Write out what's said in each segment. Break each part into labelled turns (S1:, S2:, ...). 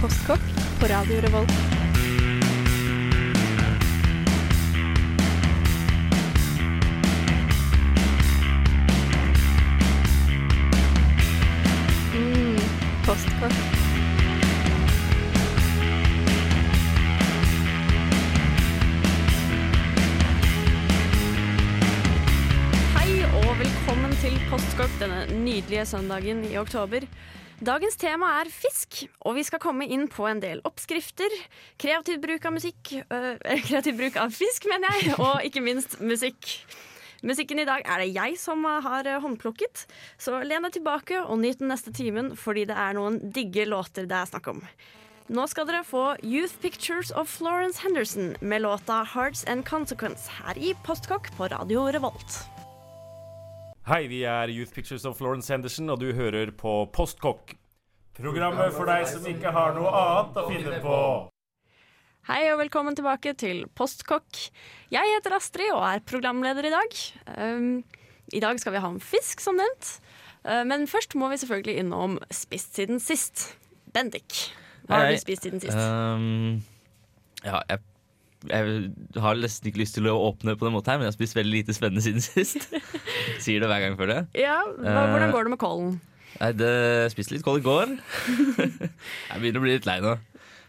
S1: Postkokk på Radio Revolt. Mm, postkokk.
S2: Hei og velkommen til Postkokk denne nydelige søndagen i oktober. Dagens tema er fisk, og vi skal komme inn på en del oppskrifter, kreativ bruk av musikk øh, Kreativ bruk av fisk, mener jeg, og ikke minst musikk. Musikken i dag er det jeg som har øh, håndplukket, så len deg tilbake og nyt den neste timen, fordi det er noen digge låter det er snakk om. Nå skal dere få Youth Pictures of Florence Henderson med låta Hearts and Consequence her i Postkokk på Radio Revolt.
S3: Hei, vi er Youth Pictures of Florence Henderson, og du hører på Postkokk. Programmet for deg som ikke har noe annet å finne på.
S2: Hei og velkommen tilbake til Postkokk. Jeg heter Astrid og er programleder i dag. Um, I dag skal vi ha om fisk, som nevnt. Uh, men først må vi selvfølgelig innom spist siden sist. Bendik, hva har
S4: Hei.
S2: du spist siden sist?
S4: Ehm, ja, jeg, jeg har nesten ikke lyst til å åpne på den måten her, men jeg har spist veldig lite spennende siden sist. Sier det hver gang før det.
S2: ja, hva,
S4: eh,
S2: Hvordan går det med kålen?
S4: Nei, det, jeg spiste litt kål i går. jeg begynner å bli litt lei nå.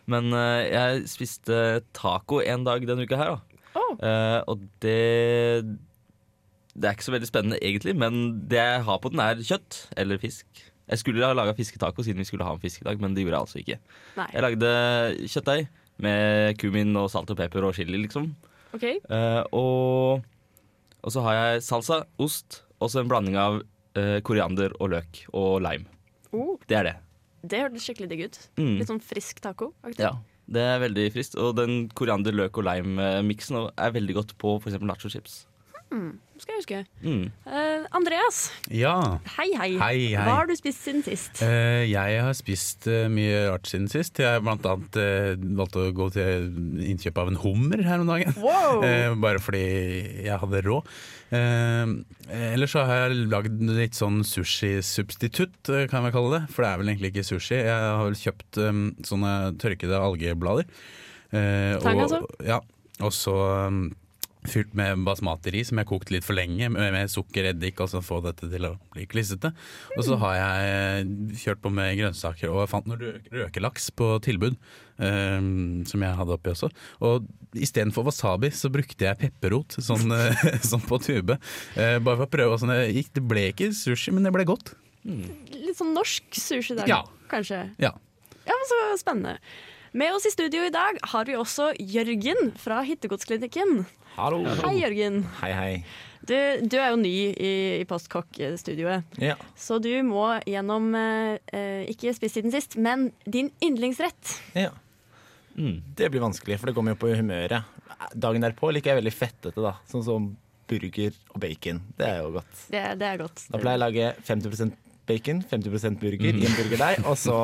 S4: Men eh, jeg spiste taco en dag denne uka her, da.
S2: Oh.
S4: Eh, og det Det er ikke så veldig spennende egentlig, men det jeg har på den, er kjøtt eller fisk. Jeg skulle ha laga fisketaco siden vi skulle ha en fisk i dag, men det gjorde jeg altså ikke.
S2: Nei.
S4: Jeg lagde kjøttdeig med kumin og salt og pepper og chili, liksom.
S2: OK.
S4: Eh, og, og så har jeg salsa, ost og så en blanding av eh, koriander og løk og lime.
S2: Oh,
S4: Det er det.
S2: det hørtes skikkelig digg ut.
S4: Mm.
S2: Litt sånn frisk taco-aktig.
S4: Ja, det er veldig frist. Og den koriander, løk og lime-miksen er veldig godt på f.eks. nachochips.
S2: Skal jeg huske.
S4: Mm.
S2: Eh, Andreas,
S5: Ja.
S2: hei, hei
S5: Hei, hei.
S2: Hva har du spist siden sist?
S5: eh, jeg har spist eh, mye rart siden sist. Jeg har blant annet eh, valgt å gå til innkjøp av en hummer her om dagen.
S2: Wow!
S5: Eh, bare fordi jeg hadde råd. Eh, ellers så har jeg lagd litt sånn sushisubstitutt, eh, kan jeg vel kalle det. For det er vel egentlig ikke sushi. Jeg har vel kjøpt eh, sånne tørkede algeblader. Eh,
S2: Tang,
S5: og-
S2: altså?
S5: Ja. Og så eh, fylt med basmati-ris, som jeg har kokt litt for lenge, med, med sukker, eddik, og så få dette til å bli klissete. Og
S2: Mm.
S5: så har jeg eh, kjørt på med grønnsaker, og jeg fant noe rø- røkelaks på tilbud, eh, som jeg hadde oppi også. Og istedenfor wasabi, så brukte jeg pepperrot, sånn, eh, sånn på tube. Eh, bare for å prøve åssen det gikk. Det ble ikke sushi, men det ble godt.
S2: Litt sånn norsk sushi der,
S5: Ja.
S2: kanskje?
S5: Ja.
S2: Ja, men så spennende. Med oss i studio i dag har vi også Jørgen fra Hittegodsklinikken.
S6: Hallo.
S2: Hei, Jørgen.
S6: Hei, hei.
S2: Du, du er jo ny i, i Postkokkstudioet,
S6: Ja.
S2: så du må gjennom eh, eh, ikke spist siden sist, men din yndlingsrett.
S6: ja.
S4: Mm.
S6: Det blir vanskelig, for det kommer jo på humøret. Dagen derpå liker jeg veldig fettete, da. Sånn som burger og bacon. Det er jo godt.
S2: Det, det er godt.
S6: Da pleier jeg å lage 50 bacon, 50 burger i en burgerdeig, og så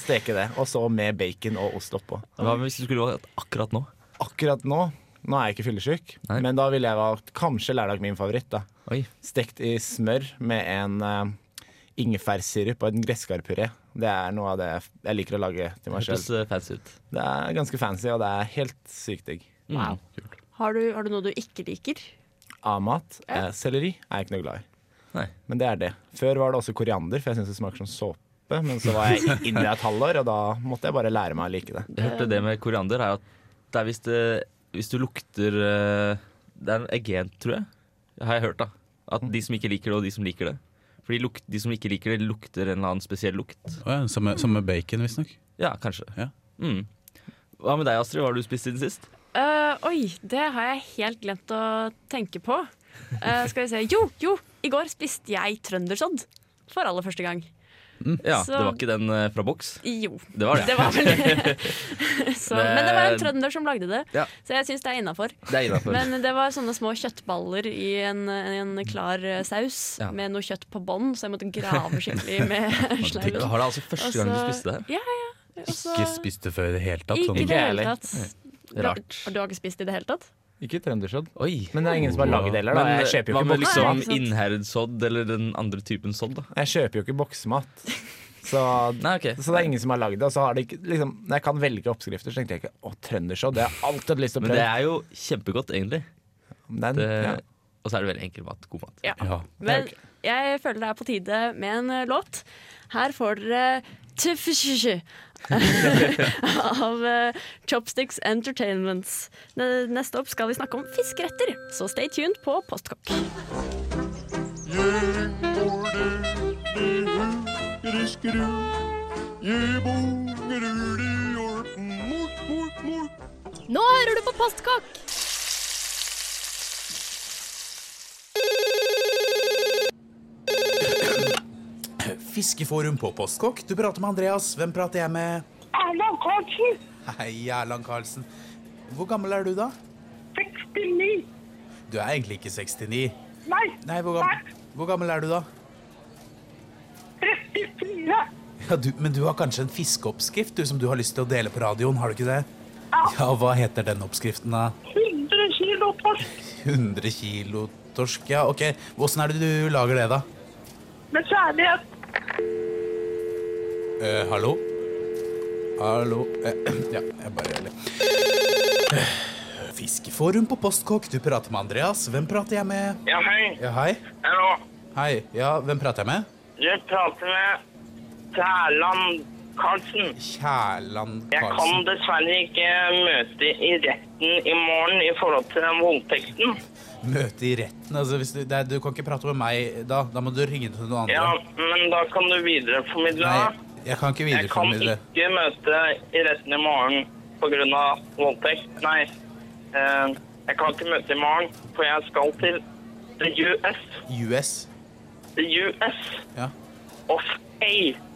S6: steke det. Og så med bacon og ost oppå.
S4: Hva hvis du skulle valgt akkurat nå?
S6: Akkurat nå nå er jeg ikke fyllesyk,
S4: Nei.
S6: men da ville jeg valgt kanskje lærdag min favoritt. da.
S4: Oi.
S6: Stekt i smør med en eh, ingefærsirup og en gresskarpuré. Det er noe av det jeg liker å lage til meg sjøl.
S4: Hørtes eh, fancy ut.
S6: Det er ganske fancy, og det er helt sykt digg.
S4: Wow.
S2: Har, du, har du noe du ikke liker?
S6: A-mat, eh, selleri, er jeg ikke noe glad i.
S4: Nei.
S6: Men det er det. Før var det også koriander, for jeg syns det smaker som såpe. Men så var jeg inne i et halvår, og da måtte jeg bare lære meg å like det.
S4: Jeg hørte det med koriander er at det er hvis, det, hvis du lukter eh, Det er en agent, tror jeg. Har jeg hørt, da. At de som ikke liker det, og de som liker det. Fordi luk, de som ikke liker det, lukter en eller annen spesiell lukt.
S5: Og, ja, som, med, som med bacon, visstnok.
S4: Ja, kanskje.
S5: Ja.
S4: Mm. Hva med deg, Astrid? Hva har du spist siden sist?
S2: Eh, oi, det har jeg helt glemt å tenke på. Eh, skal vi se. Jo, jo! I går spiste jeg trøndersodd for aller første gang.
S4: Ja,
S2: Så-
S4: Det var ikke den eh, fra boks?
S2: Jo.
S4: Det var det.
S2: Det var vel det. Så,
S4: Men-
S2: men det var en trønder som lagde det,
S4: Ja.
S2: så jeg syns det er innafor.
S4: Det er innafor.
S2: Men det var sånne små kjøttballer i en, en klar eh, saus
S4: Ja.
S2: med noe kjøtt på bånn, så jeg måtte grave skikkelig med
S4: Du
S2: slauven.
S4: har det altså første gang du
S2: Og så-
S4: spiste det her.
S2: Ja, ja. Og så-
S5: Ikke spist det før i det hele tatt.
S2: Altså, Ikke i det
S5: Sånn.
S6: Ikke
S2: hele
S6: jeg
S2: tatt. Du-
S4: Rart.
S2: Og du har ikke spist i det hele tatt?
S6: Ikke trøndersodd.
S4: Oi.
S6: Men det er ingen som har lagd heller, da.
S4: Men,
S6: Jeg kjøper jo
S4: hva
S6: ikke
S4: med liksom
S6: boksemat.
S2: Nei, ikke sant.
S4: innherredsodd eller den andre typen sodd, da?
S6: Jeg kjøper jo ikke boksemat. Så,
S4: Nei, ok.
S6: så det er ingen som har lagd det. Og så har det ikke, liksom, når jeg kan velge oppskrifter, så tenkte jeg ikke å, trøndershow. Det har jeg alltid hatt lyst til å
S4: Men det
S6: prøve.
S4: er jo kjempegodt, egentlig.
S6: Men,
S4: Det,
S6: ja.
S4: Og så er det veldig enkel mat. God mat.
S2: Ja.
S7: Ja.
S2: Men jeg føler det er på tide med en eh, låt. Her får dere Tøffsjø av eh, Chopsticks Entertainments. Ne- Neste opp skal vi snakke om fiskeretter, så stay tuned på Postkokk.
S1: Nå hører du på Postkokk!
S5: Fiskeforum på Postkokk. Du prater med Andreas. Hvem prater jeg med?
S8: Erland Karlsen,
S5: Hei, Erland Karlsen. Hvor gammel er du, da?
S8: 69.
S5: Du er egentlig ikke 69.
S8: Nei,
S5: Nei, hvor gammel, hvor gammel er du, da?
S8: 34.
S5: Ja, du, men du har kanskje en fiskeoppskrift du, som du har lyst til å dele på radioen, har du ikke det?
S8: Ja.
S5: Ja, hva heter den oppskriften, da?
S8: 100 kilo torsk
S5: 100 kilo torsk, ja. Ok, åssen er det du lager det, da?
S8: med kjærlighet.
S5: Eh, hallo? Hallo eh, Ja, jeg bare Eh, Fiskeforum på Postkokk. Du prater med Andreas. Hvem prater jeg med?
S8: Ja, hei.
S5: Ja, hei.
S8: Hallo.
S5: Hei. Ja, hvem prater jeg med?
S8: Jeg prater med Erland Karlsen.
S5: Kjærland
S8: Jeg kan
S5: Karlsen.
S8: dessverre ikke møte i retten i morgen i forhold til den voldtekten.
S5: Møte i retten. Altså, hvis du, nei, du kan ikke prate med meg da. Da må du ringe til noen andre.
S8: Ja, men da kan du videreformidle. det.
S5: Nei, jeg kan ikke
S8: Jeg kan
S5: videreformidle.
S8: ikke møte i retten i morgen på grunn av voldtekt. Nei, eh, jeg kan ikke møte i morgen, for jeg skal til the US.
S5: US.
S8: The US
S5: Ja.
S8: of A.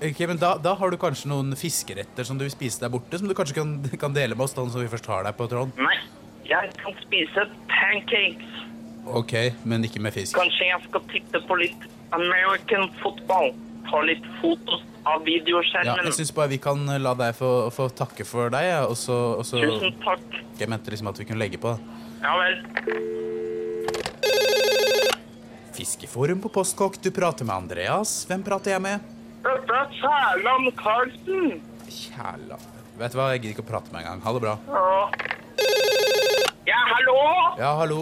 S5: Ok, men da, da har du kanskje noen fiskeretter som du vil spise der borte, som du kanskje kan, kan dele med oss, da, så vi først har deg på tråden.
S8: Nei, jeg kan spise pancakes.
S5: Ok, men ikke med fisk.
S8: Kanskje jeg skal titte på litt American football. Ta litt fotos av
S5: Ja,
S8: videoskjermen.
S5: jeg syns bare vi kan la deg få, få takke for deg, ja, og så, og så
S8: Tusen takk.
S5: Jeg mente liksom at vi kunne legge på. da.
S8: Ja vel.
S5: Fiskeforum på Postkokk, du prater med Andreas. Hvem prater jeg med?
S8: Dette er Kjærland Karlsen.
S5: Kjæla Vet du hva, jeg gidder ikke å prate med engang. Ha det bra.
S8: Ja. Ja, hallo?
S5: Ja, hallo.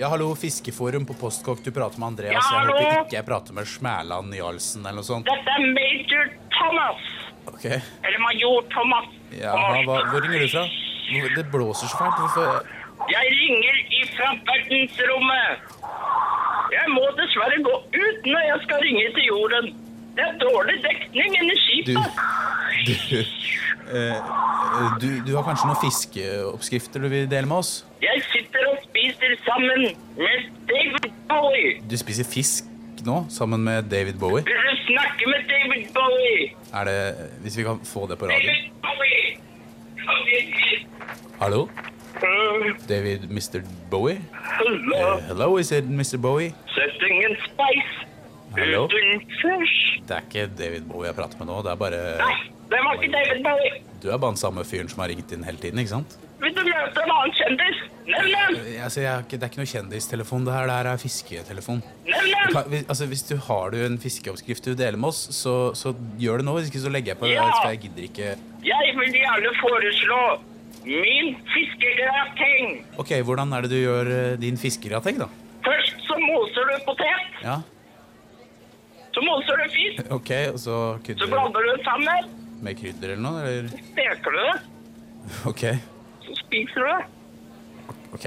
S5: Ja, hallo, Fiskeforum på Postkokk, du prater med Andreas.
S8: Ja,
S5: jeg
S8: hallo.
S5: håper ikke jeg prater med Smæland Jarlsen eller noe sånt.
S8: Dette er Major Thomas.
S5: Ok,
S8: Eller Major Thomas.
S5: ja, hva, Hvor ringer du fra? Hvor- Det blåser så fælt. Hvorfor
S8: Jeg ringer ifra verdensrommet. Jeg må dessverre gå ut når jeg skal ringe til jorden. Det er dårlig dekning inni
S5: Du,
S8: skipet.
S5: du, eh, du, du har kanskje noen fiskeoppskrifter du vil dele med oss?
S8: Jeg sitter og spiser sammen med David Bowie.
S5: Du spiser fisk nå, sammen med David Bowie.
S8: Vil du snakke med David Bowie?
S5: Er det, Hvis vi kan få det på radio.
S8: David Bowie! Kom hit.
S5: Hallo?
S8: Uh,
S5: David Mr. Bowie?
S8: hello.
S5: Eh, hello, is it Mr. Bowie?
S8: Setting in space.
S5: Hallo?
S8: Uten fish.
S5: Det er ikke David Bowie jeg prater med nå. Det er bare
S8: Nei, det var ikke David Bowie.
S5: Du er bare den samme fyren som har ringt inn hele tiden, ikke sant?
S8: Vil du møte en annen kjendis? Nevn den!
S5: Eh, Altså, jeg, har ikke- det er ikke noe kjendistelefon. Det her det her er fisketelefon.
S8: Nevn
S5: Du
S8: den!
S5: kan, hvis, altså, hvis du har du en fiskeoppskrift du vil dele med oss, så, så gjør det nå. Hvis ikke så legger jeg på.
S8: Ja.
S5: For jeg gidder ikke
S8: Jeg vil gjerne foreslå min fiskegrateng.
S5: Ok, Hvordan er det du gjør eh, din fiskegrateng, da?
S8: Først så moser du potet,
S5: Ja,
S8: så moser du fisk,
S5: ok, Og så
S8: så
S5: krydder du
S8: blander du det sammen,
S5: med krydder eller noe? Eller?
S8: steker du det,
S5: Ok.
S8: så spiser du det.
S5: ok.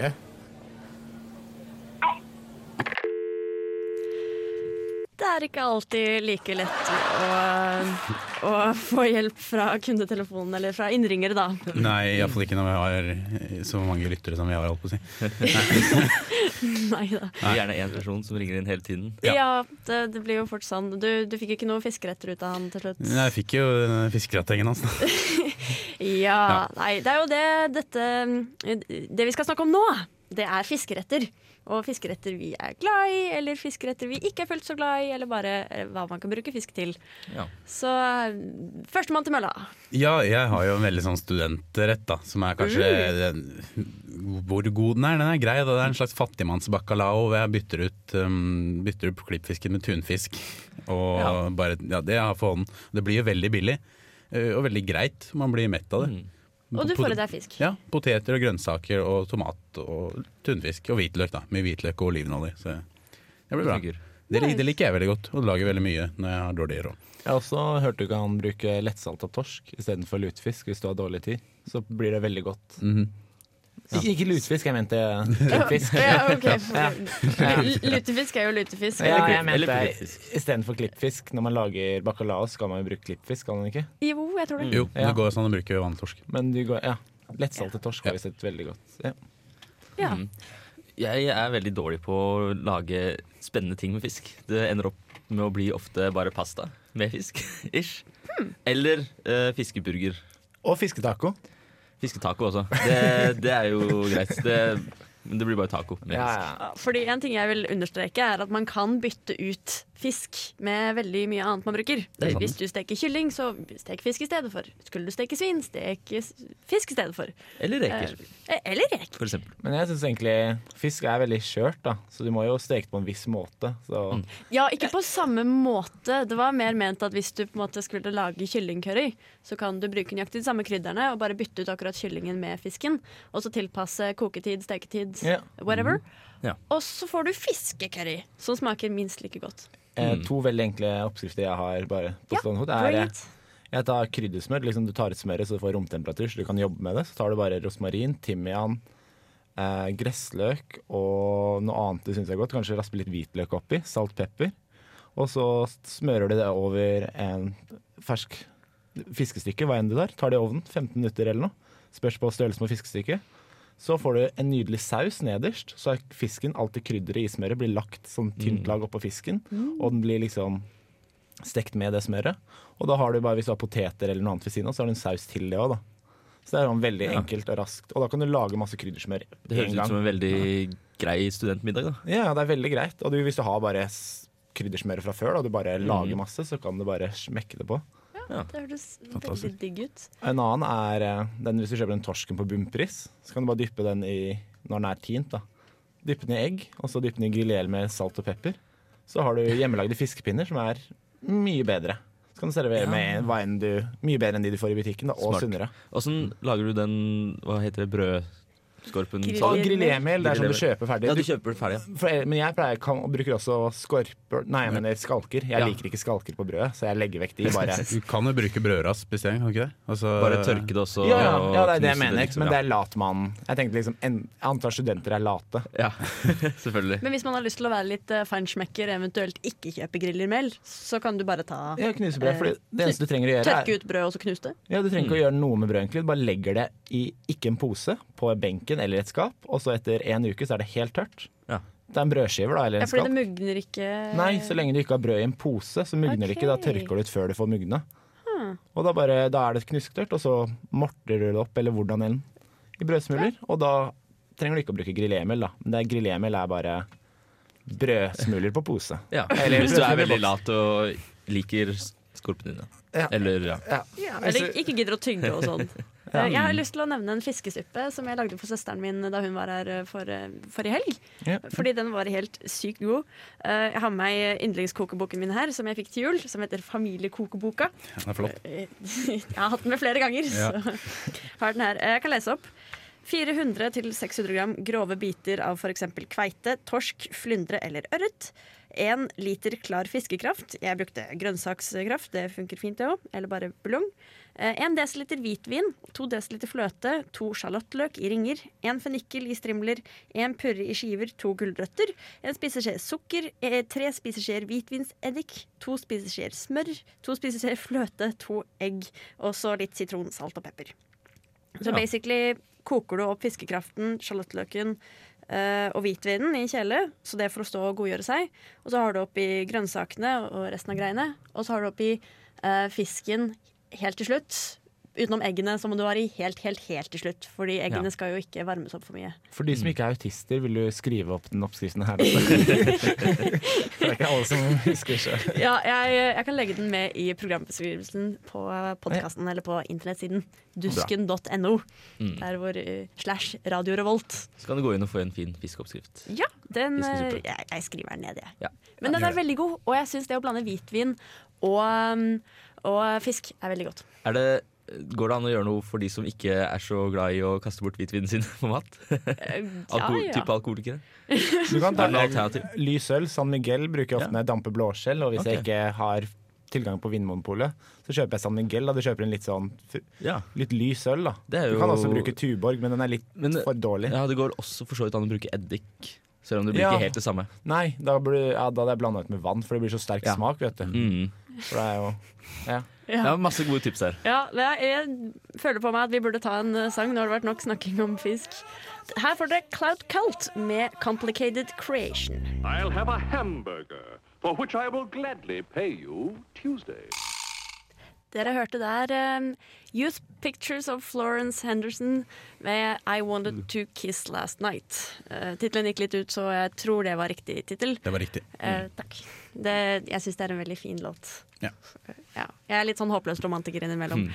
S2: Det er ikke alltid like lett å, eh, å få hjelp fra kundetelefonen eller fra innringere, da.
S7: Nei, iallfall ikke når vi har så mange lyttere som vi har, holdt på å si.
S2: Nei da.
S4: Det er gjerne én person som ringer inn hele tiden.
S2: Ja, det, det blir jo fort sånn. Du, du fikk ikke noen fiskeretter ut av han til slutt.
S7: Nei, Jeg fikk jo denne fiskegratengen hans, da.
S2: Ja, nei, det er jo det dette Det vi skal snakke om nå, det er fiskeretter. Og fiskeretter vi er glad i, eller fiskeretter vi ikke er fullt så glad i, eller bare eh, hva man kan bruke fisk til.
S4: Ja.
S2: Så eh, førstemann til mølla.
S5: Ja, jeg har jo en veldig sånn studentrett, da, som er kanskje den, Hvor god den er? Den er grei. Da. Det er en slags fattigmannsbacalao. hvor Jeg bytter ut, um, bytter ut klippfisken med tunfisk. Og bare, ja, det jeg har for hånden. Det blir jo veldig billig, eh, og veldig greit. Man blir mett av det.
S2: Og du får i deg fisk.
S5: Ja. Poteter og grønnsaker og tomat og tunfisk og hvitløk. da Mye hvitløk og olivenolje. Så det blir bra.
S4: Funker.
S5: Det, lik- det liker jeg veldig godt, og lager veldig mye når jeg har dårlig råd.
S6: Jeg har også hørt du kan bruke lettsalta torsk istedenfor lutefisk hvis du har dårlig tid. Så blir det veldig godt.
S4: Mhm.
S6: Ik- Ikke lutefisk, jeg mente klippfisk.
S2: Ja, ok. L- Lutefisk er jo lutefisk.
S6: Ja, jeg
S4: eller
S6: mente
S4: klippfisk.
S6: istedenfor klippfisk. Når man lager bacalao, skal man jo bruke klippfisk, skal man ikke?
S2: Jo, jeg tror det.
S5: Jo,
S6: Ja.
S5: det går sånn å bruke vanlig torsk.
S6: Men du går, ja. Lettsaltet torsk har vi sett veldig godt. Ja.
S2: Ja.
S4: Jeg er veldig dårlig på å lage spennende ting med fisk. Det ender opp med å bli ofte bare pasta med fisk. Ish.
S6: Hmm.
S4: Eller eh, fiskeburger.
S6: Og fisketaco.
S4: Fisketaco også. Det, det er jo greit. Det, men det blir bare taco. med
S6: Ja,
S4: fisk.
S6: ja.
S2: Fordi en ting jeg vil understreke er at man kan bytte ut fisk med veldig mye annet man bruker.
S4: er sant.
S2: Hvis du steker kylling, så stek fisk i stedet for. Skulle du steke svin, stek s- fisk i stedet for.
S4: Eller reker,
S2: Eh, Eller reker.
S4: for eksempel.
S6: Men jeg syns egentlig fisk er veldig skjørt, da. Så du må jo steke det på en viss måte. Så
S4: Mm.
S2: Ja, ikke på samme måte. Det var mer ment at hvis du på en måte skulle lage kyllingcurry, så kan du bruke nøyaktig de samme krydderne og bare bytte ut akkurat kyllingen med fisken. Og så tilpasse koketid, steketid,
S6: Ja.
S2: whatever.
S4: Ja.
S2: Og så får du fiskecurry, som smaker minst like godt.
S6: eh,
S4: Mm.
S6: to veldig enkle oppskrifter jeg har bare på stående hot, er
S2: bring
S6: eh,
S2: it.
S6: Jeg tar kryddersmør. Liksom du tar ut smøret så det får romtemperatur, så du kan jobbe med det. Så tar du bare rosmarin, timian, eh, gressløk og noe annet du syns er godt. Kanskje raspe litt hvitløk oppi. Salt, pepper. Og så smører du det over en fersk fiskestykke, hva enn du tar. Tar det i ovnen 15 minutter eller noe. Spørs på størrelsen på fiskestykket. Så får du en nydelig saus nederst, så er fisken, alt det krydderet i smøret, blir lagt som
S4: Mm.
S6: tynt lag oppå fisken. Og den blir liksom stekt med det smøret. Og da har du bare, hvis du har poteter eller noe annet ved siden av, så har du en saus til det òg, da. Så det er sånn veldig enkelt og raskt. Og da kan du lage masse kryddersmør
S4: Det høres
S6: en
S4: ut
S6: gang.
S4: som en veldig grei studentmiddag, da.
S6: Ja, ja, det er veldig greit. Og du, hvis du har bare s- kryddersmøret fra før, da, og du
S4: Mm.
S6: bare lager masse, så kan du bare smekke det på.
S2: Det hørtes veldig
S5: Fantastisk.
S2: digg ut.
S6: En annen er eh, den hvis du kjøper den torsken på bunnpris, så kan du bare dyppe den i når den er tint, da. Dyppe den i egg, og så dyppe den i grillel med salt og pepper. Så har du hjemmelagde fiskepinner som er mye bedre. Så kan du servere med hva enn du Mye bedre enn de du får i butikken, da, og
S4: Smart.
S6: sunnere.
S4: Åssen lager du den hva heter det, brødskorpen?
S2: Grill.
S6: Og grillhjemmel, det er som du
S4: Grillhjemmel.
S6: kjøper ferdig.
S4: Ja, du
S6: Du-
S4: kjøper den ferdig. ja.
S6: for, men jeg pleier, kan, og bruker også skorper Nei, jeg mener skalker. Jeg
S4: Ja.
S6: liker ikke skalker på brødet, så jeg legger vekk de bare.
S5: Du kan jo bruke brødrasp i stedet, kan du ikke det? Altså-
S4: Bare tørke det også.
S6: Ja, ja, ja, det er det jeg
S4: knuse
S6: mener,
S4: liksom,
S6: men
S4: ja.
S6: det er latmannen. Jeg tenkte liksom, en, jeg antar studenter er late.
S4: Ja, selvfølgelig.
S2: Men hvis man har lyst til å være litt eh, feinschmecker, eventuelt ikke kjøpe grillermel, så kan du bare ta eh,
S6: Jeg knuser brød, fordi det eneste du trenger å gjøre
S2: Tørke
S6: er,
S2: ut brød og så knuse det.
S6: ja, Du trenger ikke å gjøre noe med brødet, egentlig. Du bare legger det i ikke en pose, på benken eller et skap, og så etter en uke så er det helt tørt.
S4: Ja.
S6: Det er en brødskive da, eller
S2: Ja,
S6: en
S2: fordi
S6: skap.
S2: det mugner ikke
S6: Nei, så lenge du ikke har brød i en pose, så mugner det ikke. Da
S2: Ok.
S6: tørker du ut før du får mugne. Og da, bare, da er det knusktørt, og så morter du det opp, eller hvordan enn, i brødsmuler. Og da trenger du ikke å bruke grillhjemmel, da. Men det er- grillhjemmel er bare brødsmuler på pose.
S4: Ja.
S6: Eller
S4: Hvis du er
S6: brødskive
S4: veldig
S6: boks.
S4: lat og liker skorpene dine.
S6: Ja.
S4: Eller ja.
S2: Ja, eller ikke gidder å tygge og sånn. Eh, Jeg har lyst til å nevne en fiskesuppe som jeg lagde for søsteren min da hun var her eh, for, eh, forrige helg.
S6: Ja.
S2: Fordi den var helt sykt god. Eh, Jeg har med meg yndlingskokeboken min her, som jeg fikk til jul, som heter Familiekokeboka.
S5: Den er flott.
S2: Eh, Jeg har hatt den med flere ganger, så har den her. Eh, Jeg kan lese opp. 400-600 gram grove biter av f.eks. kveite, torsk, flyndre eller ørret. 1 liter klar fiskekraft. Jeg brukte grønnsakskraft, det funker fint det òg. Eller bare buljong. 1 dl hvitvin, 2 dl fløte, 2 sjalottløk i ringer, 1 fennikel i strimler, 1 purre i skiver, 2 gulrøtter, 1 spiseskje sukker, 3 spiseskjeer hvitvinseddik, 2 spiseskjeer smør, 2 spiseskjeer fløte, 2 egg, og så litt sitron, salt og pepper. Så basically koker du opp fiskekraften, sjalottløken eh, og hvitvinen i kjele, så det får å stå og godgjøre seg. Og så har du oppi grønnsakene og resten av greiene. Og så har du oppi eh, fisken helt til slutt. utenom eggene, så må du være i helt, helt, helt til slutt. Fordi eggene
S4: Ja.
S2: skal jo ikke varmes opp for mye.
S6: For de som ikke er autister, vil du skrive opp den oppskriften her? altså? For det er ikke alle som husker sjøl.
S2: Ja, jeg, jeg kan legge den med i programbeskrivelsen på podkasten eller på internettsiden dusken.no. Der hvor eh, slash Radio Revolt.
S4: Så kan du gå inn og få en fin fiskeoppskrift.
S2: Ja, den, eh,
S4: Fiskesuppe.
S2: jeg, jeg skriver den ned, jeg.
S4: Ja.
S2: Men den er veldig god, og jeg syns det å blande hvitvin og, um, og fisk er veldig godt.
S4: Er det, går det an å gjøre noe for de som ikke er så glad i å kaste bort hvitvinen sin på mat? Alko
S2: ja.
S4: Type alkoholikere?
S6: Du kan
S4: Er det noe alternativ?
S6: lys øl. San Miguel bruker jeg ofte når jeg damper blåskjell. Og hvis jeg
S4: Ok.
S6: ikke har tilgang på Vinmonopolet, så kjøper jeg San Miguel. Da. Du kjøper en litt sånn
S4: Ja.
S6: litt lys øl, da.
S4: Det er
S6: Du kan
S4: jo-
S6: også bruke Tuborg, men den er litt
S4: Men-
S6: for dårlig.
S4: ja, det går også for så vidt an å bruke eddik. Selv om det blir
S6: Ja.
S4: ikke helt det samme.
S6: Nei, da, burde, ja, da hadde jeg blanda ut med vann, for det blir så sterk
S4: Ja.
S6: smak, vet du.
S4: Mm.
S6: For det er jo
S4: Det er masse gode tips her.
S2: Ja, det er, jeg føler på meg at vi burde ta en eh, sang. Nå har det vært nok snakking om fisk. Her får dere Cloud Cult med 'Complicated Creation'.
S9: I'll have a hamburger, for which I will gladly pay you Tuesday.
S2: Dere hørte der eh, Youth Pictures of Florence Henderson med I Wanted to Kiss Last Night. Uh, Tittelen gikk litt ut, så jeg tror det var riktig tittel.
S5: Det var riktig.
S2: Eh, takk. Det, jeg syns det er en veldig fin låt.
S5: Ja.
S2: Ja, Jeg er litt sånn håpløs romantiker innimellom.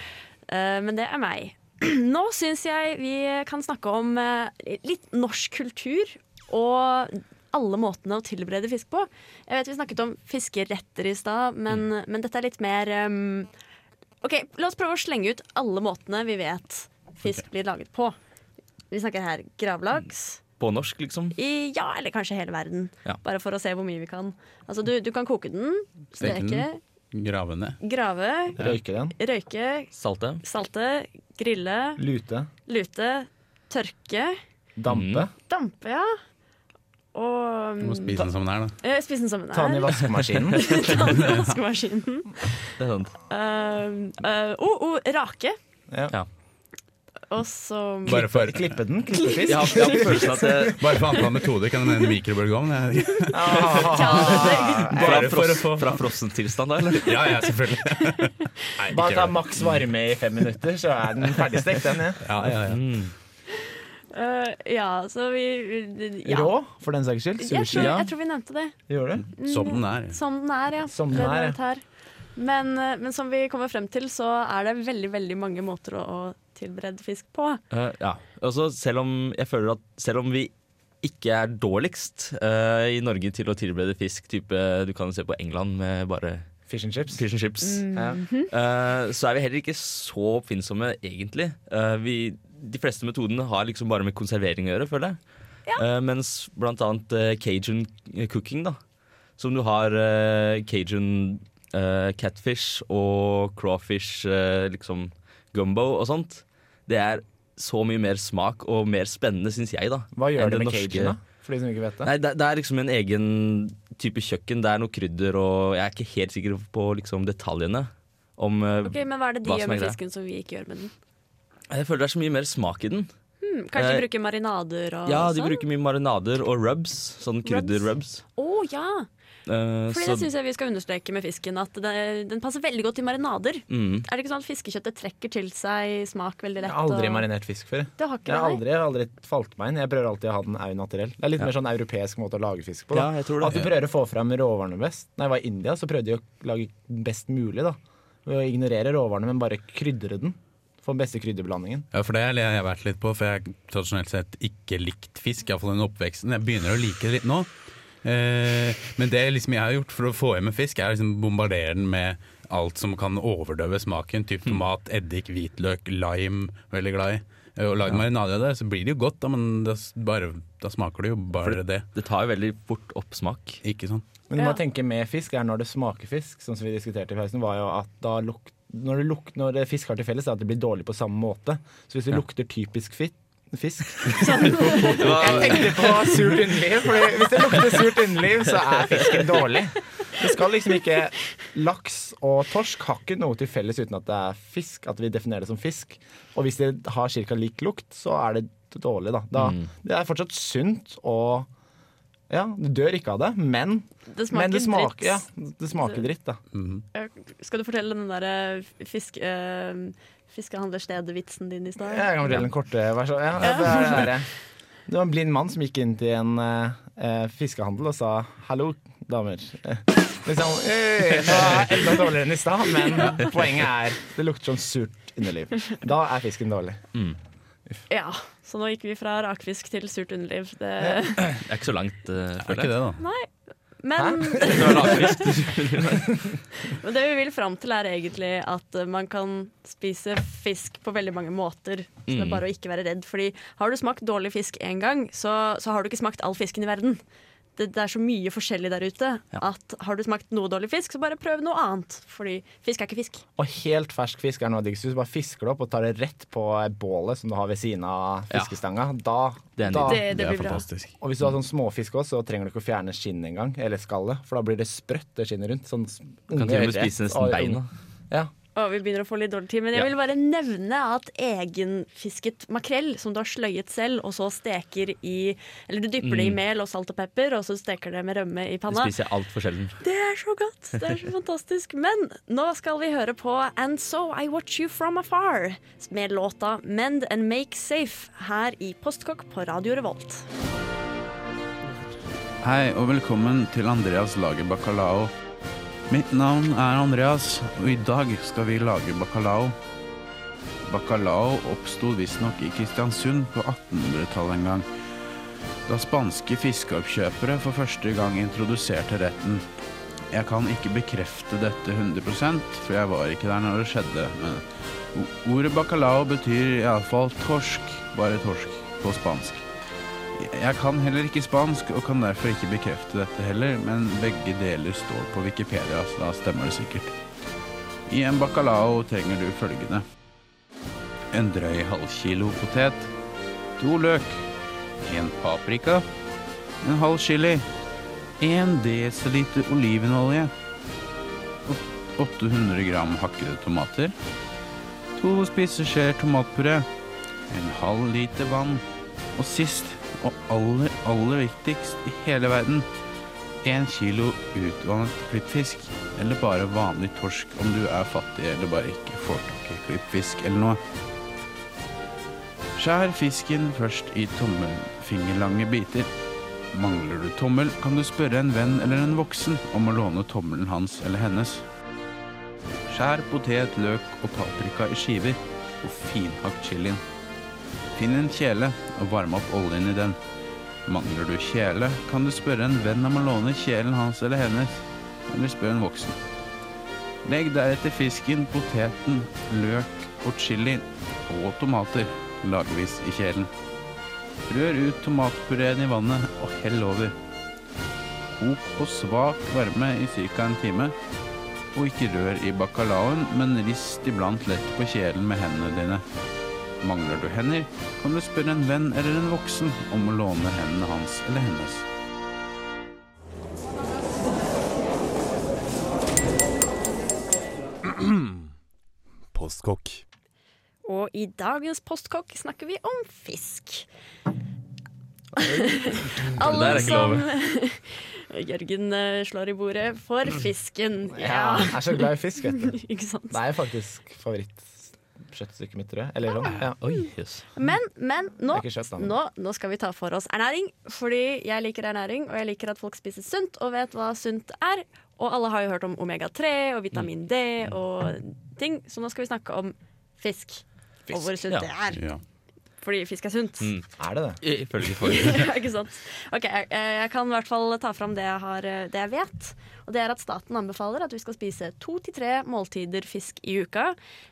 S2: Eh, men det er meg. Nå syns jeg vi kan snakke om eh, litt norsk kultur og alle måtene å tilberede fisk på. Jeg vet vi snakket om fiskeretter i stad, men, men dette er litt mer eh, OK, la oss prøve å slenge ut alle måtene vi vet fisk blir laget på. Vi snakker her gravlaks.
S4: På norsk, liksom.
S2: I, ja, eller kanskje hele verden.
S4: Ja.
S2: Bare for å se hvor mye vi kan. Altså, du, du kan koke den,
S5: Steke den.
S2: steke,
S5: Grave ned.
S2: grave,
S6: Røyke den.
S2: røyke,
S4: Salte.
S2: salte, grille,
S6: Lute.
S2: lute, tørke,
S6: Dampe.
S4: Mm.
S2: dampe, ja. Og um,
S5: Du
S2: Mm.
S5: må spise den som den er, da.
S2: eh, spise den som den
S6: Ta den i
S2: er.
S6: vaskemaskinen.
S2: Ta den i vaskemaskinen.
S4: Det er sant.
S2: Um, eh, oh, oh, rake.
S6: Ja.
S4: Ja.
S2: Og så
S5: Bare for,
S6: Klippe den. Klippe
S4: Jeg
S6: fisk.
S4: har, jeg har følelsen at jeg,
S5: bare for antall metoder kan du mene mikrobølgeovn. jeg-
S2: Ja,
S4: fra,
S5: Bare for å
S4: fross,
S5: få
S4: fra frossen tilstand, da, eller?
S5: Ja, ja, selvfølgelig. Nei,
S6: Bare ta
S5: ikke gjør det.
S6: maks varme i fem minutter, så er den ferdigstekt, den. Ja.
S5: Ja, ja, ja.
S2: eh, ja, så vi ja.
S6: Rå, for den saks skyld.
S2: Jeg
S6: Sushi.
S2: tror, jeg tror vi nevnte det.
S6: Gjør det?
S5: Som den er.
S2: Som den er, ja.
S6: Som den
S2: Det er
S6: er, ja.
S2: nevnt her. Men, eh, men som vi kommer frem til, så er det veldig veldig mange måter å, å tilberede fisk på.
S4: Eh, ja. Altså, selv om jeg føler at selv om vi ikke er dårligst eh, i Norge til å tilberede fisk, type du kan jo se på England med bare
S6: Fish and chips.
S4: fish and chips,
S6: Ja.
S4: eh, så er vi heller ikke så oppfinnsomme, egentlig. Eh, vi, de fleste metodene har liksom bare med konservering å gjøre, føler jeg. Eh, mens blant annet eh, cajun cooking, da. Som du har eh, cajun eh, catfish og crawfish, eh, liksom gumbo og sånt. Det er så mye mer smak og mer spennende, syns jeg, da.
S6: Hva
S4: enn
S6: gjør det med
S4: norske-
S6: cajun, da? For de som ikke vet det.
S4: Nei, det, det er liksom en egen type kjøkken. Det er noe krydder og Jeg er ikke helt sikker på liksom, detaljene. Om, eh,
S2: Ok, Men hva er det de
S4: Hva
S2: gjør
S4: som er
S2: med
S4: greia?
S2: fisken som vi ikke gjør med den?
S4: Jeg føler det er så mye mer smak i den.
S2: Hmm, Kanskje
S4: Eh,
S2: de bruker marinader og
S4: Ja, De
S2: sånn?
S4: bruker mye marinader og rubs. Sånn krydder-rubs.
S2: Å ja!
S4: Eh,
S2: Fordi
S4: så-
S2: det syns jeg vi skal understreke med fisken, at det, den passer veldig godt i marinader.
S4: mm.
S2: Er det ikke sånn at fiskekjøttet trekker til seg smak veldig
S6: Jeg
S2: lett?
S6: har aldri
S2: og-
S6: marinert fisk før.
S2: Det har ikke
S6: Jeg har
S2: det, nei.
S6: aldri, jeg har aldri falt meg inn. Jeg prøver alltid å ha den au naturell. Det er litt mer sånn europeisk måte å lage fisk på.
S4: Ja,
S6: Da.
S4: jeg tror
S6: At du
S4: det.
S6: prøver å få fram råvarene best. Når jeg var i India, så prøvde jeg å lage best mulig, da. Ved å ignorere råvarene, men bare krydre den. Få den beste krydderblandingen.
S5: Ja, for det har jeg vært litt på, for jeg har tradisjonelt sett ikke likt fisk. Iallfall den oppveksten. Jeg begynner å like det litt nå. Eh, men det liksom jeg har gjort for å få hjem en fisk, er liksom bombardere den med alt som kan overdøve smaken. Typ tomat, eddik, hvitløk, lime. Veldig glad i. Eh, Og lag marinade av det, så blir det jo godt, da, men da, s- bare, da smaker det jo bare det.
S4: Det tar jo veldig fort opp smak.
S5: Ikke sånn.
S6: Men du må
S2: Ja.
S6: tenke med fisk er når det smaker fisk, sånn som vi diskuterte i pausen, var jo at da luk, når, det luk, når det fisk har til felles, er at det blir dårlig på samme måte. Så hvis det lukter typisk fit, fisk Jeg tenkte på surt underliv, for hvis det lukter surt underliv, så er fisken dårlig. Det skal liksom ikke Laks og torsk har ikke noe til felles uten at det er fisk, at vi definerer det som fisk. Og hvis det har ca. lik lukt, så er det dårlig, da. da det er fortsatt sunt og ja, du dør ikke av det, men
S2: Det
S6: men
S2: smaker
S6: det smaker,
S2: dritt.
S6: ja, det smaker dritt, da.
S2: Eh, Skal du fortelle den derre fisk... eh, fiskehandlerstedet-vitsen din i stad.
S6: Jeg kan fortelle den korte versjonen. Ja,
S2: Ja.
S6: det, er det, her. det var en blind mann som gikk inn til en eh, eh, fiskehandel og sa 'hallo, damer'. Eh, Liksom, «Øy, nå er jeg enda dårligere enn i stad, men poenget er det lukter sånn surt underliv. Da er fisken dårlig.
S2: Ja, så nå gikk vi fra rakfisk til surt underliv. Det...
S4: Det er ikke så langt, uh,
S5: Er ikke det, da?
S2: Nei, men
S4: Fra lakrisk til surmuling.
S2: Men det vi vil fram til, er egentlig at eh, man kan spise fisk på veldig mange måter. Så det
S4: Mm.
S2: er bare å ikke være redd. Fordi har du smakt dårlig fisk én gang, så, så har du ikke smakt all fisken i verden. Det, det er så mye forskjellig der ute at har du smakt noe dårlig fisk, så bare prøv noe annet. Fordi fisk er ikke fisk.
S6: Og helt fersk fisk er noe av det diggeste. Du bare fisker det opp og tar det rett på bålet som du har ved siden av
S4: Ja.
S6: fiskestanga. Da,
S4: Det er
S6: da
S4: nydelig.
S2: Det- det Det er blir bra.
S5: fantastisk.
S6: Og hvis du har sånn småfisk også, så trenger du ikke å fjerne skinnet engang. Eller skallet, for da blir det sprøtt det skinnet rundt. Sånn s-
S4: Kan til og med spise
S6: ørret
S4: nesten
S6: og-
S4: beina.
S6: Ja.
S2: Og vi begynner å få litt dårlig tid, men jeg
S4: Ja.
S2: vil bare nevne at egenfisket makrell, som du har sløyet selv, og så steker i Eller du dypper det i
S4: Mm.
S2: mel og salt og pepper, og så steker det med rømme i
S4: Det
S2: panna.
S4: spiser jeg altfor sjelden.
S2: Det er så godt! Det er så fantastisk. Men nå skal vi høre på And So I Watch You From Afar med låta Mend and Make Safe her i Postkokk på Radio Revolt.
S5: Hei og velkommen til Andreas lager bacalao. Mitt navn er Andreas, og i dag skal vi lage bacalao. Bacalao oppsto visstnok i Kristiansund på 1800-tallet en gang, da spanske fiskeoppkjøpere for første gang introduserte retten. Jeg kan ikke bekrefte dette 100 for jeg var ikke der når det skjedde, men o- ordet bacalao betyr iallfall torsk, bare torsk, på spansk. Jeg kan heller ikke spansk, og kan derfor ikke bekrefte dette heller, men begge deler står på Wikipedia, så da stemmer det sikkert. I en bacalao trenger du følgende. En drøy halv kilo potet, to løk, en paprika, en halv chili, en desiliter olivenolje, åt- 800 gram hakkede tomater, to spiseskjeer tomatpuré, en halv liter vann, og sist, og aller, aller viktigst i hele verden, én kilo utvannet klippfisk, eller bare vanlig torsk om du er fattig eller bare ikke får tak i klippfisk eller noe. Skjær fisken først i tommelfingerlange biter. Mangler du tommel, kan du spørre en venn eller en voksen om å låne tommelen hans eller hennes. Skjær potet, løk og paprika i skiver, og finhakk chilien. Finn en kjele og varm opp oljen i den. Mangler du kjele, kan du spørre en venn om å låne kjelen hans eller hennes, eller spør en voksen. Legg deretter fisken, poteten, løk og chili og tomater lagvis i kjelen. Rør ut tomatpureen i vannet og hell over. Kok på svak varme i ca. en time, og ikke rør i bacalaoen, men rist iblant lett på kjelen med hendene dine. Mangler du hender, kan du spørre en venn eller en voksen om å låne hendene hans eller hennes.
S10: Postkokk.
S2: Og i dagens Postkokk snakker vi om fisk.
S10: Det er
S2: Alle
S10: ikke
S2: som
S10: lov.
S2: Jørgen eh, slår i bordet for fisken.
S6: Mm. Ja, jeg er så glad i fisk, vet du.
S2: Ikke sant?
S6: Det er faktisk favorittskjøttstykket mitt, tror jeg. Eller sånn. Ja.
S2: Men, men nå,
S6: Det er ikke kjøtt, da, men-
S2: nå, nå skal vi ta for oss ernæring. Fordi jeg liker ernæring, og jeg liker at folk spiser sunt og vet hva sunt er. Og alle har jo hørt om omega-3 og vitamin D
S6: Mm.
S2: og ting, så nå skal vi snakke om fisk. og hvor sunt det er. Fordi fisk er sunt.
S6: Er det det?
S4: Ifølge
S2: Ja, ikke sant? Ok, jeg, jeg kan i hvert fall ta fram det jeg, har, eh, det jeg vet. Og det er at staten anbefaler at vi skal spise to til tre måltider fisk i uka.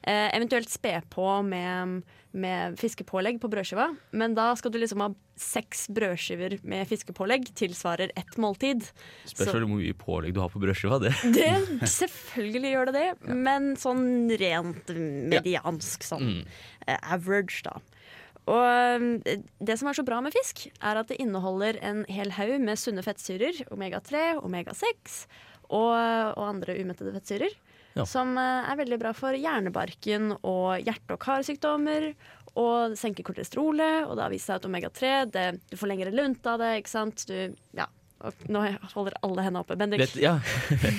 S2: Eh, eventuelt spe på med, med fiskepålegg på brødskiva. Men da skal du liksom ha seks brødskiver med fiskepålegg tilsvarer ett måltid.
S4: Spørs
S2: Så-
S4: hvor mye pålegg du har på brødskiva. Det.
S2: det, selvfølgelig gjør det det, men sånn rent mediansk, sånn
S4: Mm.
S2: eh, average, da. Og eh, det som er så bra med fisk, er at det inneholder en hel haug med sunne fettsyrer, omega-3, omega-6 og, og andre umettede fettsyrer,
S4: Ja.
S2: som eh, er veldig bra for hjernebarken og hjerte- og karsykdommer. Og det senker kolesterolet, og det har vist seg at omega-3 det, Du får lengre lunt av det, ikke sant? Du, ja, og Nå holder alle hendene oppe. Bendik.
S4: Vet, ja.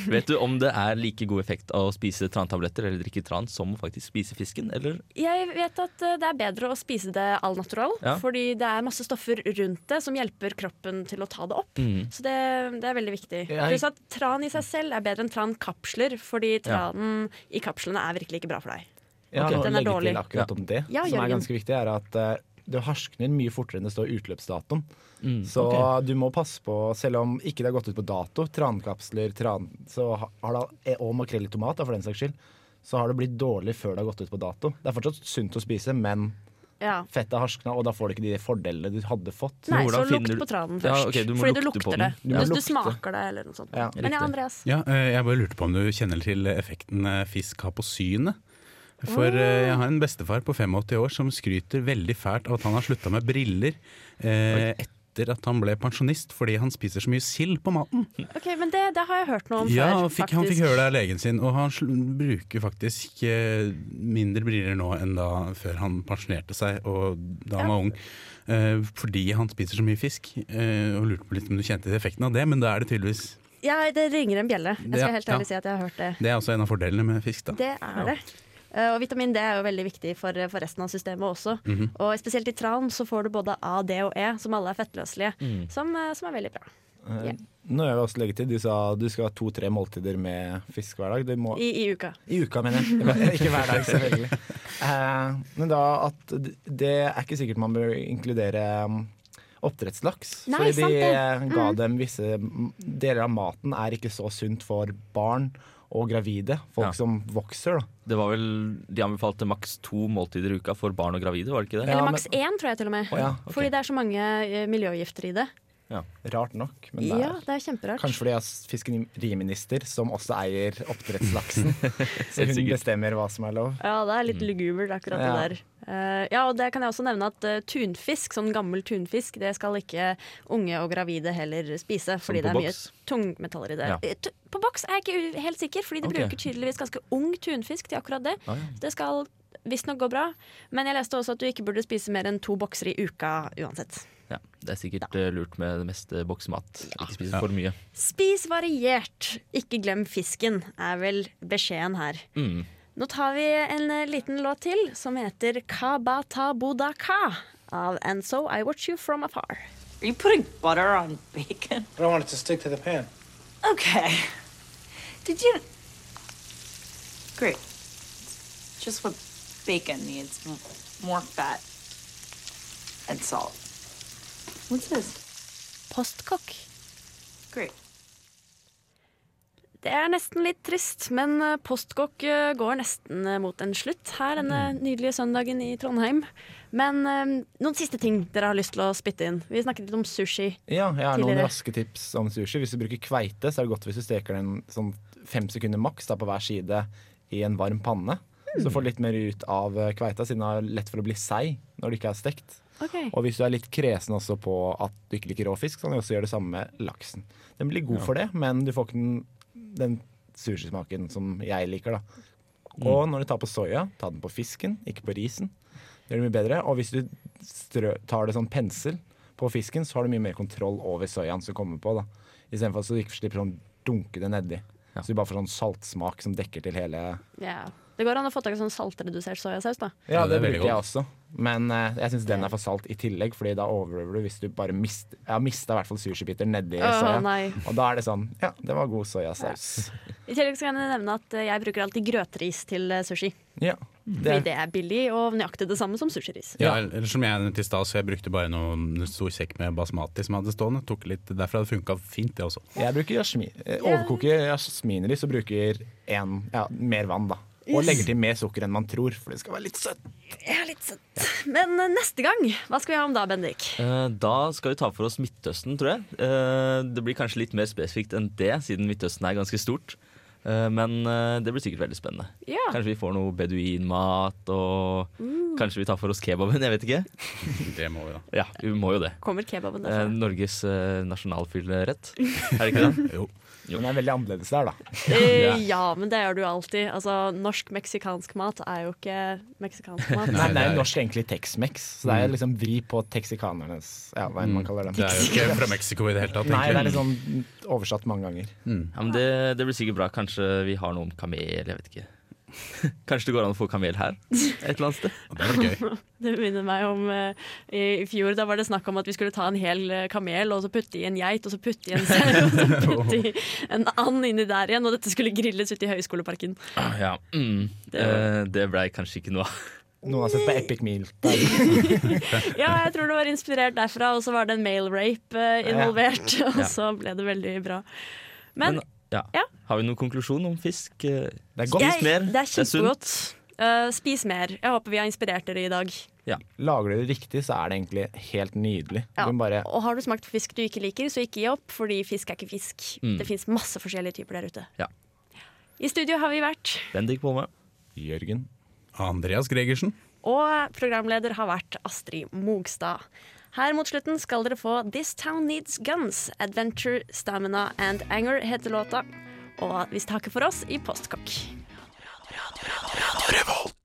S4: Vet du om det er like god effekt av å spise trantabletter eller drikke tran som å faktisk spise fisken, eller?
S2: Jeg vet at eh, det er bedre å spise det all natural,
S4: Ja.
S2: fordi det er masse stoffer rundt det som hjelper kroppen til å ta det opp.
S5: Mm.
S4: Mhm.
S2: Så det, det er veldig viktig.
S4: Jeg-
S2: Pluss at tran i seg selv er bedre enn trankapsler, fordi
S6: Ja.
S2: tranen i kapslene er virkelig ikke bra for deg.
S6: Jeg har noe å
S2: Den er
S6: legge
S2: dårlig.
S6: til akkurat om det,
S2: Ja,
S6: som er
S2: Jørgen.
S6: ganske viktig, er at eh, det harskner mye fortere enn det står utløpsdatoen. så
S10: ok.
S6: du må passe på, selv om ikke det har gått ut på dato, trankapsler, tran, så ha- har det, og makrell i tomat da, for den saks skyld, så har det blitt dårlig før det har gått ut på dato. Det er fortsatt sunt å spise, men
S2: Ja.
S6: fettet har harskna, og da får du ikke de fordelene du hadde fått.
S2: Nei, så lukt på tranen først. fordi du lukter det. Hvis du smaker det, eller noe sånt.
S6: Ja,
S2: Men ja,
S6: riktig.
S2: Andreas.
S5: Ja, eh, jeg bare lurte på om du kjenner til effekten eh, fisk har på synet. For
S2: Mm.
S5: eh, jeg har en bestefar på 85 år som skryter veldig fælt av at han har slutta med briller eh, etter at han ble pensjonist fordi han spiser så mye sild på maten.
S2: Ok, Men det, det har jeg hørt noe om
S5: Ja,
S2: før.
S5: han fikk, han fikk
S2: faktisk.
S5: høre det av legen sin, og han sl bruker faktisk eh, mindre briller nå enn da før han pensjonerte seg og da han var ung. Eh, fordi han spiser så mye fisk, eh, og lurte på litt om du kjente effekten av det, men da er det tydeligvis
S2: Ja, det ringer en bjelle. Jeg
S5: Ja,
S2: skal helt
S5: ja.
S2: ærlig si at jeg har hørt det.
S5: Det er også en av fordelene med fisk, da.
S2: Det er det. Eh, Og vitamin D er jo veldig viktig for, for resten av systemet også.
S5: Mhm.
S2: Og spesielt i tran så får du både A, D og E, som alle er fettløselige,
S6: Mm.
S2: som, eh, som er veldig bra.
S6: Eh, Nå gjør jeg også legge til, du sa du skal ha to-tre måltider med fisk hver dag. Du må,
S2: I, i uka.
S6: I uka, mener jeg. Ikke hver dag, selvfølgelig. Eh, men da at det er ikke sikkert man bør inkludere um, oppdrettslaks.
S10: Nei,
S6: fordi
S10: sant
S6: de
S10: det.
S6: eh, ga
S10: Mm.
S6: dem visse m- Deler av maten er ikke så sunt for barn og gravide. Folk
S4: Ja.
S6: som vokser, da.
S4: Det var vel, De anbefalte maks to måltider i uka for barn og gravide, var det ikke det?
S2: Eller maks én, tror jeg til og med.
S4: Å ja,
S2: Fordi det er så mange eh, miljøgifter i det.
S6: Rart nok. Men det er,
S2: ja, det er kjemperart.
S6: kanskje fordi jeg er fiskeriminister, som også eier oppdrettslaksen. så
S4: Helt
S6: hun
S4: sikkert.
S6: bestemmer hva som er lov.
S2: Ja, det er litt
S4: Mm.
S2: lugubert akkurat det
S6: Ja.
S2: der. Eh, ja, og det kan jeg også nevne at eh, tunfisk, sånn gammel tunfisk, det skal ikke unge og gravide heller spise, fordi det
S4: på
S2: er mye
S4: boks?
S2: tungmetaller i det.
S4: Ja.
S2: Eh, tu- På boks er jeg ikke u- helt sikker, fordi de
S4: Ok.
S2: bruker tydeligvis ganske ung tunfisk til akkurat det.
S4: Ah, ja.
S2: Så det skal visstnok gå bra. Men jeg leste også at du ikke burde spise mer enn to bokser i uka uansett.
S4: Ja, Det er sikkert eh, lurt med det meste boksmat. Ikke spise for mye.
S2: Spis variert, ikke glem fisken, er vel beskjeden her.
S4: Mm.
S2: Nå tar vi en eh, liten låt til som heter Kabata Budaka av And So I Watch You From Afar.
S11: Are you putting butter on bacon?
S12: I don't want it to stick to the pan.
S11: Okay. Did you? Great. It's Just what bacon needs m- more fat and salt. What's this?
S2: Postkokk.
S11: Great.
S2: Det er nesten litt trist, men eh, postkokk eh, går nesten eh, mot en slutt her denne nydelige søndagen i Trondheim. Men eh, noen siste ting dere har lyst til å spytte inn. Vi snakket litt om sushi.
S6: Ja, jeg har noen
S2: tidligere.
S6: raske tips om sushi. Hvis du bruker kveite, så er det godt hvis du steker den sånn fem sekunder maks da, på hver side i en varm panne. Så får du litt mer ut av eh, kveita, siden den er lett for å bli seig når det ikke er stekt.
S2: Ok.
S6: Og hvis du er litt kresen også på at du ikke liker rå fisk, så kan du også gjøre det samme med laksen. Den blir god
S10: Ja.
S6: for det, men du får ikke den, den sushismaken som jeg liker, da. Og når du tar på soya, ta den på fisken, ikke på risen. Det gjør det mye bedre. Og hvis du strø, tar det sånn pensel på fisken, så har du mye mer kontroll over soyaen som kommer på. da. Istedenfor at du ikke slipper sånn dunke det nedi. Så du bare får sånn saltsmak som dekker til hele
S2: Ja. Det går an å få tak i sånn saltredusert soyasaus, da.
S6: Ja, det, bruker jeg også. Men eh, jeg syns den er for salt i tillegg, Fordi da overøver du hvis du bare mister Jeg har mista i hvert fall sushibiter nedi
S2: Åh,
S6: soya.
S2: nei.
S6: Og da er det sånn Ja, det var god soyasaus.
S2: I tillegg så kan jeg nevne at eh, jeg bruker alltid grøtris til eh, sushi.
S6: Ja.
S2: Fordi det er billig og nøyaktig det samme som sushiris.
S5: Ja, eller som jeg nevnte i stad, så jeg brukte bare noen en stor sekk med basmati som jeg hadde stående. Tok litt, Derfor hadde det funka fint, det også.
S6: Jeg bruker jasmin, eh, overkoker jasminris og bruker en, ja, mer vann, da. Og
S2: Yes.
S6: legger til mer sukker enn man tror, for det skal være litt søtt.
S2: Ja, litt søtt. Men eh, neste gang, hva skal vi ha om da, Bendik?
S4: Eh, Da skal vi ta for oss Midtøsten, tror jeg. Eh, Det blir kanskje litt mer spesifikt enn det, siden Midtøsten er ganske stort. Eh, Men eh, det blir sikkert veldig spennende.
S2: Ja.
S4: Kanskje vi får noe beduinmat og Kanskje vi tar for oss kebaben, jeg vet ikke.
S5: Det må vi da.
S4: Ja, vi må jo det.
S2: Kommer kebaben
S4: Eh,
S2: derfra?
S4: Norges eh, nasjonalfyllerett, er det ikke det?
S5: jo.
S6: Den er veldig annerledes der, da.
S2: Eh, ja, men det gjør du alltid. Altså, Norsk-meksikansk mat er jo ikke meksikansk mat.
S6: Nei, det er jo norsk egentlig Tex-Mex, så det er liksom vri på texikanernes Ja, hva enn man kaller dem.
S5: Det er jo ikke fra Mexico i det sånn. hele tatt.
S6: Nei, det er
S5: egentlig.
S6: liksom oversatt mange ganger.
S4: Ja, men det, det blir sikkert bra. Kanskje vi har noe om kamel, jeg vet ikke. Kanskje det går an å få kamel her? Et eller annet sted.
S5: Det var gøy.
S2: Det minner meg om eh, i i fjor. Da var det snakk om at vi skulle ta en hel eh, kamel og så putte i en geit, og så putte i en sau, og så putte i en and inni der igjen. Og dette skulle grilles ute i Høgskoleparken.
S4: Ja. Mm.
S2: Det-
S4: Eh, det blei kanskje ikke noe av.
S6: Noen har sett på Epic Meal.
S2: Ja, jeg tror det var inspirert derfra, og så var det en male rape eh, involvert. Og
S4: Ja. uh,
S2: så ble det veldig bra. Men,
S4: Ja.
S2: Ja.
S4: Har vi noen konklusjon om fisk? Det
S6: er
S2: jeg,
S4: Spis mer.
S2: det er
S4: sunt.
S2: kjempegodt. Eh, spis mer. Jeg håper vi har inspirert dere i dag.
S6: Lager du det riktig, så er det egentlig helt nydelig.
S2: Ja.
S6: Du kan bare
S2: Og har du smakt på fisk du ikke liker, så ikke gi opp, fordi fisk er ikke fisk.
S4: Mm.
S2: Det fins masse forskjellige typer der ute.
S4: Ja.
S2: I studio har vi vært,
S4: Bendik på meg.
S6: Jørgen.
S5: Andreas Gregersen.
S2: og programleder har vært Astrid Mogstad. Her mot slutten skal dere få This Town Needs Guns, Adventure, Stamina and Anger heter låta. Og vi takker for oss i Postkokk.
S8: Revolt.